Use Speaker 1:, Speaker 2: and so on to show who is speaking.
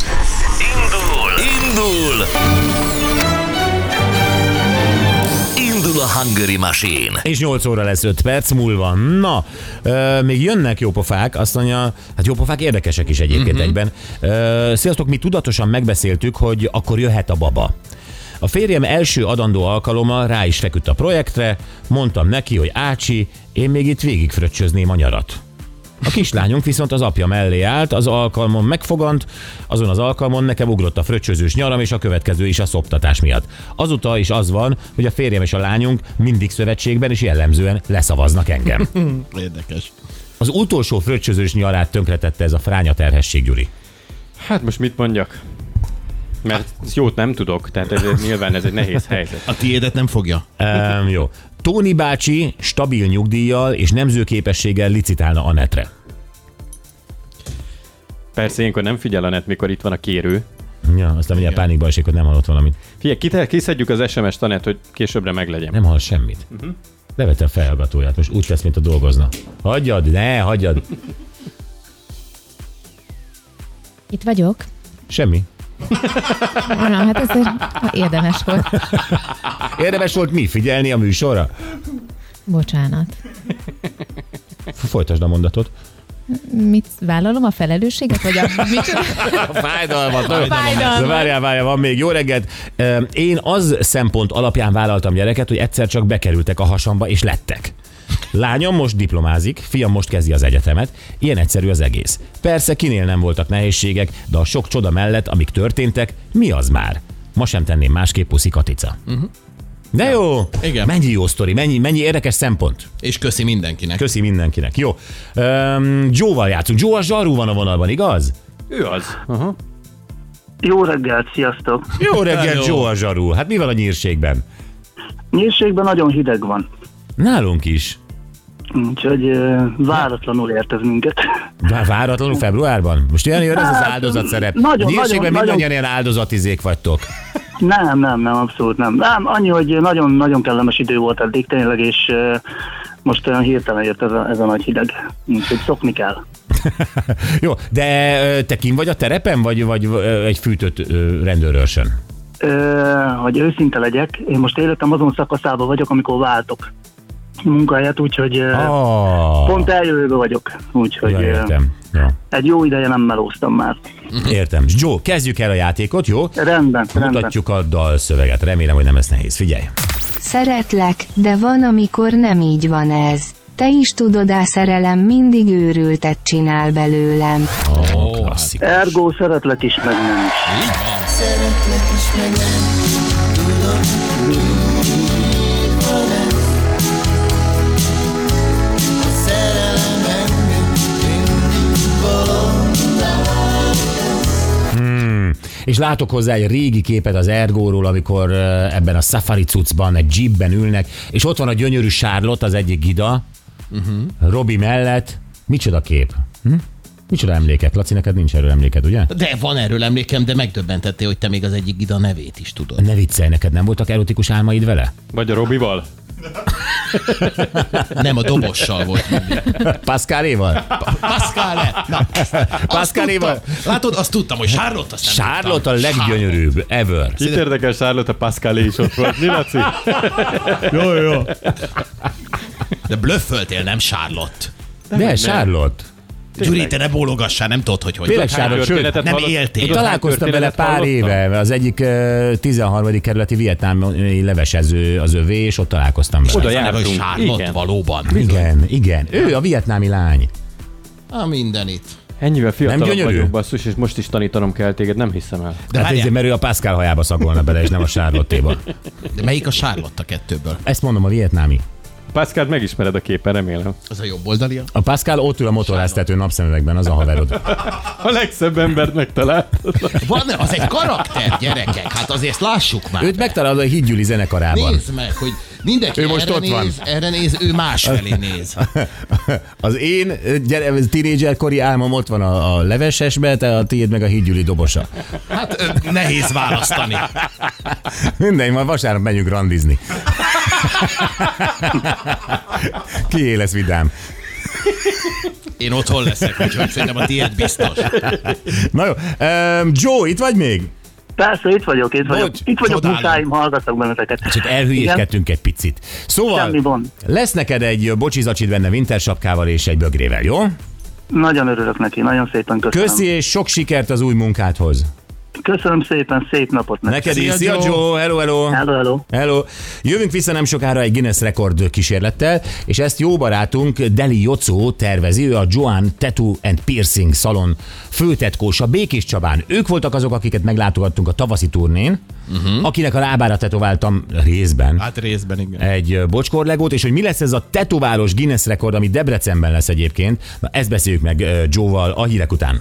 Speaker 1: Indul! Indul! Indul a Hungary Machine!
Speaker 2: És 8 óra lesz 5 perc múlva. Na, ö, még jönnek jópofák, azt mondja, hát jópofák érdekesek is egyébként uh-huh. egyben. Ö, sziasztok, mi tudatosan megbeszéltük, hogy akkor jöhet a baba. A férjem első adandó alkalommal rá is feküdt a projektre, mondtam neki, hogy Ácsi, én még itt végigfröccsözném a nyarat. A kislányunk viszont az apja mellé állt, az alkalmon megfogant, azon az alkalmon nekem ugrott a fröccsözős nyaram és a következő is a szoptatás miatt. Azóta is az van, hogy a férjem és a lányunk mindig szövetségben és jellemzően leszavaznak engem.
Speaker 3: Érdekes.
Speaker 2: Az utolsó fröccsözős nyarát tönkretette ez a fránya terhesség, Gyuri.
Speaker 4: Hát most mit mondjak? Mert
Speaker 3: Hát-
Speaker 4: jót nem tudok, tehát ez, ez nyilván ez egy nehéz helyzet.
Speaker 3: A tiédet nem fogja.
Speaker 2: Um, jó. Tóni bácsi stabil nyugdíjjal és nemzőképességgel licitálna a netre.
Speaker 4: Persze ilyenkor nem figyel a net, mikor itt van a kérő.
Speaker 2: Ja, aztán mindjárt pánikba esik, hogy nem hallott valamit.
Speaker 4: Figyelj, kite- kiszedjük az SMS tanát, hogy későbbre meglegyen.
Speaker 2: Nem hall semmit. Uh-huh. Levette a felhallgatóját, most úgy tesz, mint a dolgozna. Hagyjad, ne, hagyjad.
Speaker 5: Itt vagyok.
Speaker 2: Semmi.
Speaker 5: Na, hát ez érdemes volt.
Speaker 2: Érdemes volt mi figyelni a műsorra?
Speaker 5: Bocsánat.
Speaker 2: Folytasd a mondatot.
Speaker 5: Mit vállalom a felelősséget? Vagy a, mit?
Speaker 2: A fájdalmat. A
Speaker 5: fájdalmat.
Speaker 2: Várjál, várjál, van még. Jó reggelt. Ö, Én az szempont alapján vállaltam gyereket, hogy egyszer csak bekerültek a hasamba és lettek. Lányom most diplomázik, fiam most kezdi az egyetemet, ilyen egyszerű az egész. Persze kinél nem voltak nehézségek, de a sok csoda mellett, amik történtek, mi az már? Ma sem tenném másképp puszi Katica. Uh-huh. De jó!
Speaker 3: Igen.
Speaker 2: Mennyi jó sztori, mennyi, mennyi érdekes szempont.
Speaker 3: És köszi mindenkinek.
Speaker 2: Köszi mindenkinek. Jó. Um, Joe-val játszunk. Joe a zsarú van a vonalban, igaz?
Speaker 4: Ő az. Aha.
Speaker 6: Jó reggelt, sziasztok!
Speaker 2: Jó reggelt,
Speaker 3: Hello.
Speaker 2: Joe a zsarú. Hát mi van a nyírségben?
Speaker 6: Nyírségben nagyon hideg van,
Speaker 2: Nálunk is.
Speaker 6: úgyhogy ö, váratlanul ért ez minket.
Speaker 2: Vá- Váratlanul februárban? Most ilyen jön ez az áldozat szerep.
Speaker 6: Hát, nagyon,
Speaker 2: Nyírségben
Speaker 6: nagyon, nagyon.
Speaker 2: mindannyian ilyen áldozatizék vagytok.
Speaker 6: Nem, nem, nem, abszolút nem. Nem, annyi, hogy nagyon-nagyon kellemes idő volt eddig tényleg, és ö, most olyan hirtelen ért ez a, ez a nagy hideg, úgyhogy szokni kell.
Speaker 2: Jó, de ö, te kim vagy a terepen, vagy, vagy ö, egy fűtött ö, rendőrőrsön?
Speaker 6: Ö, hogy őszinte legyek, én most életem azon szakaszában vagyok, amikor váltok munkahelyet, úgyhogy ö,
Speaker 2: Ah,
Speaker 6: pont eljövőben vagyok, úgyhogy
Speaker 2: ja,
Speaker 6: ö,
Speaker 2: értem. Ja,
Speaker 6: egy jó ideje nem melóztam már.
Speaker 2: értem. Joe, kezdjük el a játékot, jó?
Speaker 6: Rendben, rendben.
Speaker 2: Mutatjuk a dalszöveget. Remélem, hogy nem lesz nehéz. Figyelj.
Speaker 7: Szeretlek, de van, amikor nem így van ez. Te is tudod, a szerelem mindig őrültet csinál belőlem.
Speaker 2: Oh, klasszik.
Speaker 6: Ergo szeretlek is, meg nem is.
Speaker 2: Hmm. És látok hozzá egy régi képet az Ergóról, amikor ö, ebben a safari cuccban, egy jeepben ülnek, és ott van a gyönyörű Charlotte, az egyik gida,
Speaker 3: Mhm.
Speaker 2: uh-huh. Robi mellett. Micsoda kép? Hm? Micsoda emlékek? Laci, neked nincs erről emléked, ugye?
Speaker 3: De van erről emlékem, de megdöbbentettél, hogy te még az egyik gida nevét is tudod.
Speaker 2: Ne viccelj, neked nem voltak erotikus álmaid vele?
Speaker 4: Vagy a Robival?
Speaker 3: Nem, a dobossal volt mindig.
Speaker 2: Pascaléval?
Speaker 3: Pascal lett. Na, azt
Speaker 2: Pascaléval?
Speaker 3: tudtam. Látod, azt tudtam, hogy Charlotte azt nem
Speaker 2: Charlotte a
Speaker 3: tudtam.
Speaker 2: leggyönyörűbb ever.
Speaker 4: Itt érdekes Charlotte, a Pascalé is ott volt. Mi, Laci?
Speaker 3: Jó, jó. De blöfföltél, nem Charlotte.
Speaker 2: De Charlotte.
Speaker 3: Gyuri, te ne bólogassál, nem tudod, hogy hogy.
Speaker 2: Tényleg
Speaker 3: vagy.
Speaker 2: Charlotte, sőt,
Speaker 4: történetet
Speaker 3: nem
Speaker 4: hallott-
Speaker 3: éltél.
Speaker 4: Tudod, hány
Speaker 2: Találkoztam vele
Speaker 4: történetet
Speaker 2: pár
Speaker 4: hallottam?
Speaker 2: éve, az egyik ö, 13. kerületi vietnámi levesező az övé, és ott találkoztam vele.
Speaker 4: Oda
Speaker 3: Az a neve, hogy
Speaker 4: jártunk.
Speaker 3: Charlotte
Speaker 4: Igen.
Speaker 3: valóban.
Speaker 2: Igen, igen. Ő a vietnámi lány.
Speaker 3: A mindenit.
Speaker 4: Ennyivel fiatalabb
Speaker 2: gyönyörű?
Speaker 4: vagyok, basszus, és most is tanítanom kell téged, nem hiszem el.
Speaker 2: De hát
Speaker 3: várjál.
Speaker 2: ezért, mert ő a Pascal hajába szagolna bele, és nem a Charlotte-éba.
Speaker 3: De melyik a Charlotte a kettőből?
Speaker 2: Ezt mondom, a vietnámi.
Speaker 4: Pascalt megismered a képen, remélem.
Speaker 3: Az a jobb oldalia?
Speaker 2: A Pascal ott ül a motorháztető napszemüvegben, az a haverod.
Speaker 4: A legszebb embert megtaláltad.
Speaker 3: Van, az egy karakter, gyerekek. Hát azért ezt lássuk már.
Speaker 2: Őt megtalálod a Hídgyüli zenekarában.
Speaker 3: Nézd meg, hogy mindenki
Speaker 2: Ő most
Speaker 3: erre
Speaker 2: ott van.
Speaker 3: néz, erre néz, ő másfelé néz.
Speaker 2: Az én ö, gyere, ez tínédzserkori álmom ott van a, a levesesbe, te a tiéd meg a Hídgyüli dobosa.
Speaker 3: Hát ö, nehéz választani.
Speaker 2: Mindegy, majd vasárnap megyünk randizni. Kié lesz vidám.
Speaker 3: Én otthon leszek, úgyhogy szerintem a tiéd biztos.
Speaker 2: Na jó. Um, Joe, itt vagy még?
Speaker 6: Persze, itt vagyok, itt vagyok.
Speaker 2: Bocs,
Speaker 6: Itt vagyok,
Speaker 3: csodálom.
Speaker 6: muszáim, hallgatok benneteket.
Speaker 2: Csak elhülyéskedtünk egy picit.
Speaker 6: Semmi
Speaker 2: Szóval
Speaker 6: gond.
Speaker 2: lesz neked egy bocsizacsid benne winter sapkával és egy bögrével, jó?
Speaker 6: Igen, Nagyon örülök neki, nagyon szépen köszönöm.
Speaker 2: Köszi és sok sikert az új munkádhoz.
Speaker 6: Köszönöm szépen, szép napot nektek.
Speaker 2: Neked is. Szia
Speaker 3: Szia,
Speaker 2: Joe, hello, hello.
Speaker 6: Hello, hello.
Speaker 2: Hello! Jövünk vissza nem sokára egy Guinness rekord kísérlettel, és ezt jó barátunk Deli Jocó tervezi, ő a Joan Tattoo and Piercing Salon főtetkósa Békés Csabán. Ők voltak azok, akiket meglátogattunk a tavaszi turnén, uh-huh. akinek a lábára tetováltam részben
Speaker 3: Hát részben igen.
Speaker 2: egy ö, bocskorlegót, és hogy mi lesz ez a tetoválós Guinness rekord, ami Debrecenben lesz egyébként, na ezt beszéljük meg ö, Joe-val a hírek után.